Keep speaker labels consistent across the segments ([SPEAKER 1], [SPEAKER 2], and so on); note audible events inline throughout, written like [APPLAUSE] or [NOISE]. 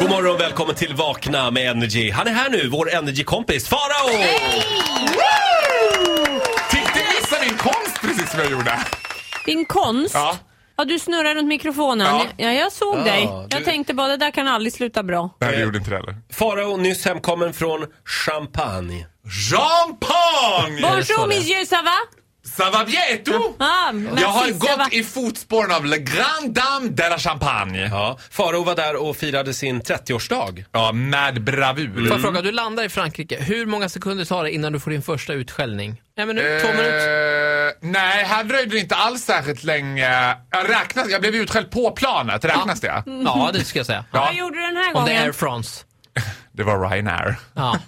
[SPEAKER 1] God morgon och välkommen till Vakna med Energy. Han är här nu, vår Energy-kompis Farao!
[SPEAKER 2] Titta, missa din konst precis som jag gjorde.
[SPEAKER 3] Din konst?
[SPEAKER 2] Ja.
[SPEAKER 3] Ja. du snurrar runt mikrofonen.
[SPEAKER 2] Ja.
[SPEAKER 3] Ja, jag såg
[SPEAKER 1] Ja,
[SPEAKER 3] dig.
[SPEAKER 1] du-
[SPEAKER 3] Jag tänkte bara, det där kan aldrig sluta bra.
[SPEAKER 2] Nej, det gjorde inte det heller.
[SPEAKER 1] Farao, nyss hemkommen från Champagne.
[SPEAKER 2] Champagne!
[SPEAKER 3] Bonjour monsieur, ça va?
[SPEAKER 2] Ça va bieto?
[SPEAKER 3] Ah,
[SPEAKER 2] Jag har
[SPEAKER 3] merci, ça va?
[SPEAKER 2] gått i fotspåren av La Grande Dame de la Champagne.
[SPEAKER 1] Ja, Farao var där och firade sin 30-årsdag.
[SPEAKER 2] Ja, med bravur.
[SPEAKER 4] Får jag fråga, du landar i Frankrike. Hur många sekunder tar det innan du får din första utskällning? En minut? Två minuter?
[SPEAKER 2] Eh, nej, här dröjde det inte alls särskilt länge. Jag, räknas, jag blev utskälld på planet, räknas det?
[SPEAKER 4] Ja, det ska jag säga.
[SPEAKER 2] Ja.
[SPEAKER 3] Vad gjorde du den här
[SPEAKER 4] Om det är Air
[SPEAKER 3] gången?
[SPEAKER 4] France.
[SPEAKER 2] Det var Ryanair.
[SPEAKER 4] Ja.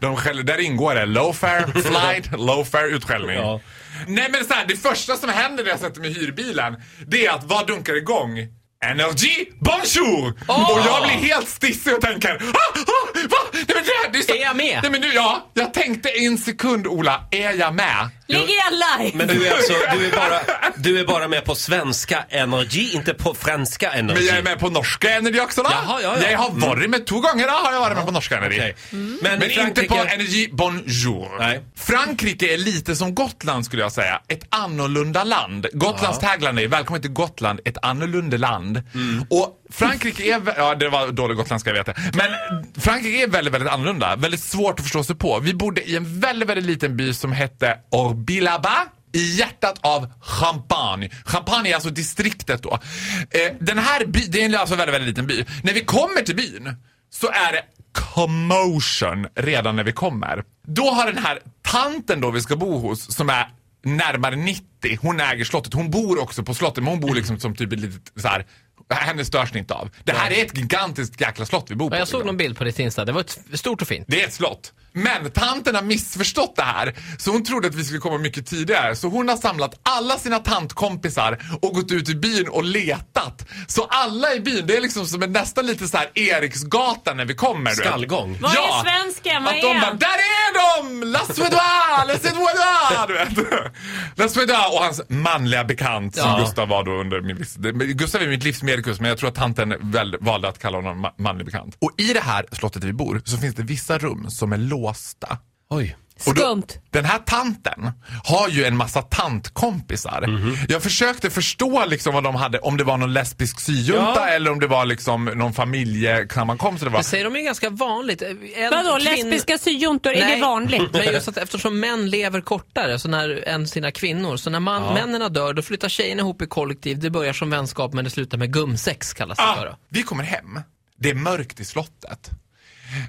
[SPEAKER 2] De skäller, där ingår det. Low fare,
[SPEAKER 4] [LAUGHS]
[SPEAKER 2] flight, low fare, utskällning.
[SPEAKER 1] Ja.
[SPEAKER 2] Nej men så här, det första som händer när jag sätter mig i hyrbilen, det är att vad dunkar igång? Energy bonjour! Och jag blir helt stissig och tänker ah, ah, va? Nej, men det, det är, så,
[SPEAKER 4] Är jag med?
[SPEAKER 2] Nej, men nu, ja, jag tänkte en sekund Ola, är jag med?
[SPEAKER 3] Ligger jag live?
[SPEAKER 1] Men du är alltså, du är bara, du är bara med på svenska Energy, inte på franska Energy.
[SPEAKER 2] Men jag är med på norska Energy också då.
[SPEAKER 4] Jaha, ja, Mm. ja.
[SPEAKER 2] Jag har varit med två gånger då, har jag varit med på norska Energy.
[SPEAKER 1] Okej. Men,
[SPEAKER 2] Mm. Men inte på
[SPEAKER 1] Frankrike-
[SPEAKER 2] Energy Bonjour.
[SPEAKER 1] Nej.
[SPEAKER 2] Frankrike är lite som Gotland skulle jag säga. Ett annorlunda land. Gotlands tagline är Välkommen till Gotland, ett annorlunda land.
[SPEAKER 1] Mm.
[SPEAKER 2] Och Frankrike är, vä- ja det var dålig gotländska jag vet det. Men Frankrike är väldigt, väldigt annorlunda. Väldigt svårt att förstå sig på. Vi bodde i en väldigt, väldigt liten by som hette Orbilaba. I hjärtat av Champagne. Champagne är alltså distriktet då. Eh, den här byn, det är alltså en väldigt, väldigt liten by. När vi kommer till byn så är det commotion redan när vi kommer. Då har den här tanten då vi ska bo hos som är närmare 90, hon äger slottet. Hon bor också på slottet men hon bor liksom som typ ett litet så här. Henne störs ni inte av. Det här är ett gigantiskt jäkla slott vi bor på.
[SPEAKER 4] Jag såg
[SPEAKER 2] liksom.
[SPEAKER 4] någon bild på ditt Insta. Det var ett stort och fint.
[SPEAKER 2] Det är ett slott. Men tanten har missförstått det här, så hon trodde att vi skulle komma mycket tidigare. Så hon har samlat alla sina tantkompisar och gått ut i byn och letat. Så alla i byn, det är liksom som en nästan lite så här Eriksgatan när vi kommer. du vet.
[SPEAKER 1] Skallgång.
[SPEAKER 3] Vad är svensken? Vad
[SPEAKER 2] Att de
[SPEAKER 3] är
[SPEAKER 2] bara,
[SPEAKER 3] han?
[SPEAKER 2] där är de! La Suédois! La Suédois! Du vet. [LAUGHS] La Suédois och hans manliga bekant som
[SPEAKER 4] Ja.
[SPEAKER 2] Gustav var då under min viss... det- men Gustav är mitt livs medikus men jag tror att tanten väl, valde att kalla honom ma- manlig bekant. Och i det här slottet där vi bor så finns det vissa rum som är låsta.
[SPEAKER 1] Oj.
[SPEAKER 2] Och då-
[SPEAKER 3] Skumt.
[SPEAKER 2] Den här tanten har ju en massa tantkompisar.
[SPEAKER 1] Mhm.
[SPEAKER 2] Jag försökte förstå liksom vad de hade, om det var någon lesbisk syjunta
[SPEAKER 1] Ja.
[SPEAKER 2] eller om det var liksom någon familjesammankomst. eller
[SPEAKER 4] Det
[SPEAKER 2] vad.
[SPEAKER 4] säger de är ganska vanligt. Eh, En
[SPEAKER 3] Vadå,
[SPEAKER 4] kvinn-
[SPEAKER 3] lesbiska syjuntor? Är
[SPEAKER 4] Nej.
[SPEAKER 3] det vanligt?
[SPEAKER 4] Men just att eftersom män lever kortare så när, än sina kvinnor, så när man, männen dör då flyttar tjejerna ihop i kollektiv. Det börjar som vänskap men det slutar med gumsex kallas det för.
[SPEAKER 2] Ah,
[SPEAKER 4] då.
[SPEAKER 2] vi kommer hem. Det är mörkt i slottet.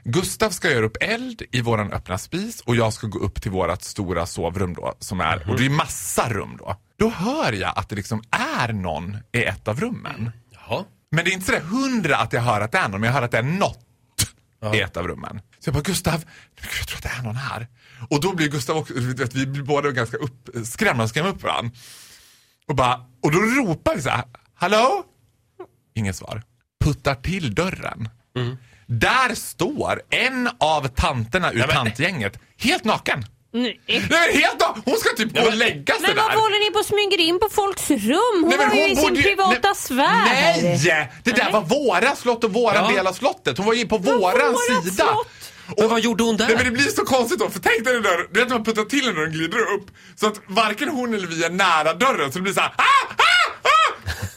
[SPEAKER 2] Gustav ska göra upp eld i våran öppna spis och jag ska gå upp till vårat stora sovrum då som är, och det är massa rum då. Då hör jag att det liksom är någon i ett av rummen.
[SPEAKER 1] Jaha.
[SPEAKER 2] Men det är inte sådär hundra att jag hör att det är någon, men jag hör att det är något i ett av rummen. Så jag bara, Gustav, men gud, jag tror att det är någon här. Och då blir Gustav också, du vet, vi blir båda ganska uppskrämda och skrämmer upp varandra. Och, bara, och då ropar vi så här, hallå? Inget svar. Puttar till dörren. Där står en av tanterna ur tantgänget, helt naken.
[SPEAKER 3] Nej.
[SPEAKER 2] Nej men helt naken! Hon ska typ gå och lägga sig
[SPEAKER 3] Men
[SPEAKER 2] där.
[SPEAKER 3] varför håller ni på och smyger in på folks rum? Hon
[SPEAKER 2] Nej, men
[SPEAKER 3] var ju i sin
[SPEAKER 2] bodde ju-
[SPEAKER 3] privata
[SPEAKER 2] nej,
[SPEAKER 3] sfär.
[SPEAKER 2] Nej! Det där var våra slott och våran
[SPEAKER 1] Ja.
[SPEAKER 2] del av slottet. Hon var ju på
[SPEAKER 3] var
[SPEAKER 2] våran
[SPEAKER 3] vårat
[SPEAKER 2] sida.
[SPEAKER 3] slott.
[SPEAKER 1] Men vad gjorde hon där?
[SPEAKER 2] Nej men det blir så konstigt då, för tänk dig den där, du vet när man puttar till den när den glider upp. Så att varken hon eller vi är nära dörren så det blir så här. Ah, ah,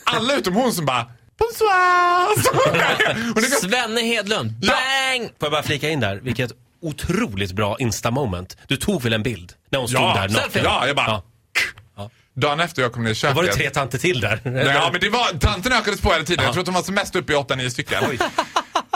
[SPEAKER 2] ah! Alla utom hon som bara Bonsoir! Så-
[SPEAKER 1] [LAUGHS]
[SPEAKER 2] Och det går-
[SPEAKER 4] Svenne Hedlund,
[SPEAKER 2] Ja.
[SPEAKER 4] bang!
[SPEAKER 1] Får jag bara flika in där, vilket otroligt bra Insta-moment. Du tog väl en bild när hon stod
[SPEAKER 2] Ja,
[SPEAKER 1] där
[SPEAKER 2] selfie. Ja, jag bara- Dagen efter jag kom ner i
[SPEAKER 1] Då
[SPEAKER 2] köket.
[SPEAKER 1] var det tre tanter till där.
[SPEAKER 2] Nej, ja, men det var, tanten ökades på hela tiden. Jag tror att de var som mest uppe i 8-9 stycken.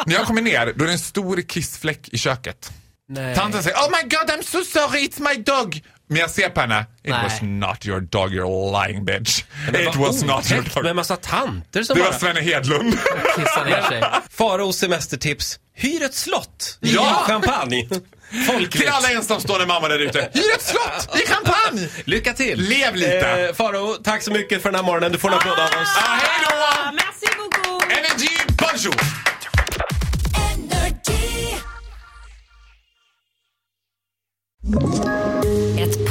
[SPEAKER 2] När jag kommer ner, då är det en stor kissfläck i köket.
[SPEAKER 1] Nej.
[SPEAKER 2] Tanten säger Oh my god I'm so sorry it's my dog. Men jag ser på henne. It
[SPEAKER 4] Nej.
[SPEAKER 2] was not your dog you're lying bitch.
[SPEAKER 1] Men
[SPEAKER 2] It
[SPEAKER 1] vad
[SPEAKER 2] was not your
[SPEAKER 1] otäckt
[SPEAKER 2] dog.
[SPEAKER 1] Med en massa tanter som
[SPEAKER 2] Det var
[SPEAKER 1] bara... [LAUGHS]
[SPEAKER 2] Svenne Hedlund.
[SPEAKER 4] Kissar ner sig.
[SPEAKER 1] Faraos semestertips. Hyr ett slott i
[SPEAKER 2] Ja!
[SPEAKER 1] champagne. Folkligt.
[SPEAKER 2] Till alla ensamstående mammor där ute. Hyr ett slott i champagne.
[SPEAKER 1] [LAUGHS] Lycka till!
[SPEAKER 2] Lev lite.
[SPEAKER 1] Eh, Farao, tack så mycket för den här morgonen. Du får en applåd av oss.
[SPEAKER 2] Ah, hej då!
[SPEAKER 3] Ah, Merci beaucoup.
[SPEAKER 2] Energy bonjour!
[SPEAKER 5] Ett